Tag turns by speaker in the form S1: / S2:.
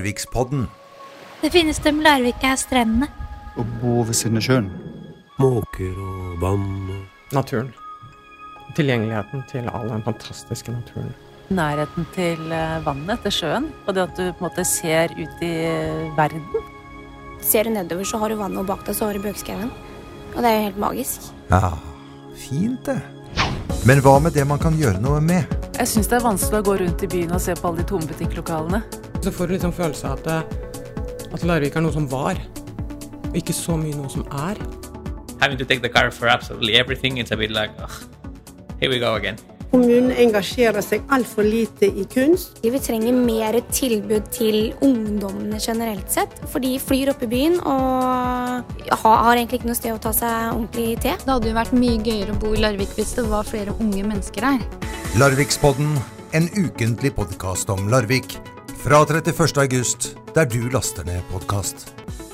S1: Larvikspodden.
S2: Det finnes dem Larvik er strendene.
S3: Å bo ved siden av sjøen.
S4: Måker og vann og
S5: Naturen. Tilgjengeligheten til all den fantastiske naturen.
S6: nærheten til eh, vannet, til sjøen, og det at du på en måte ser ut i eh, verden.
S7: Ser du nedover, så har du vannet, og bak deg så har du bøkeskauen. Og det er jo helt magisk.
S1: Ja, fint det. Men hva med det man kan gjøre noe med?
S6: Jeg syns det er vanskelig å gå rundt i byen og se på alle de tomme butikklokalene.
S5: Så får du liksom følelse av at, det- at Larvik er noe som var, og ikke så mye noe som er.
S8: having to take the car for absolutely everything, it's a bit like, ugh, here we go again.
S9: Kommunen engasjerer seg altfor lite i kunst.
S7: Vi trenger mer tilbud til ungdommene generelt sett. For de flyr opp i byen og har, har egentlig ikke noe sted å ta seg ordentlig te.
S2: Det hadde jo vært mye gøyere å bo i Larvik hvis det var flere unge mennesker her.
S1: Larvikspodden, en ukentlig podkast om Larvik. Fra 31. august, der du laster ned podkast.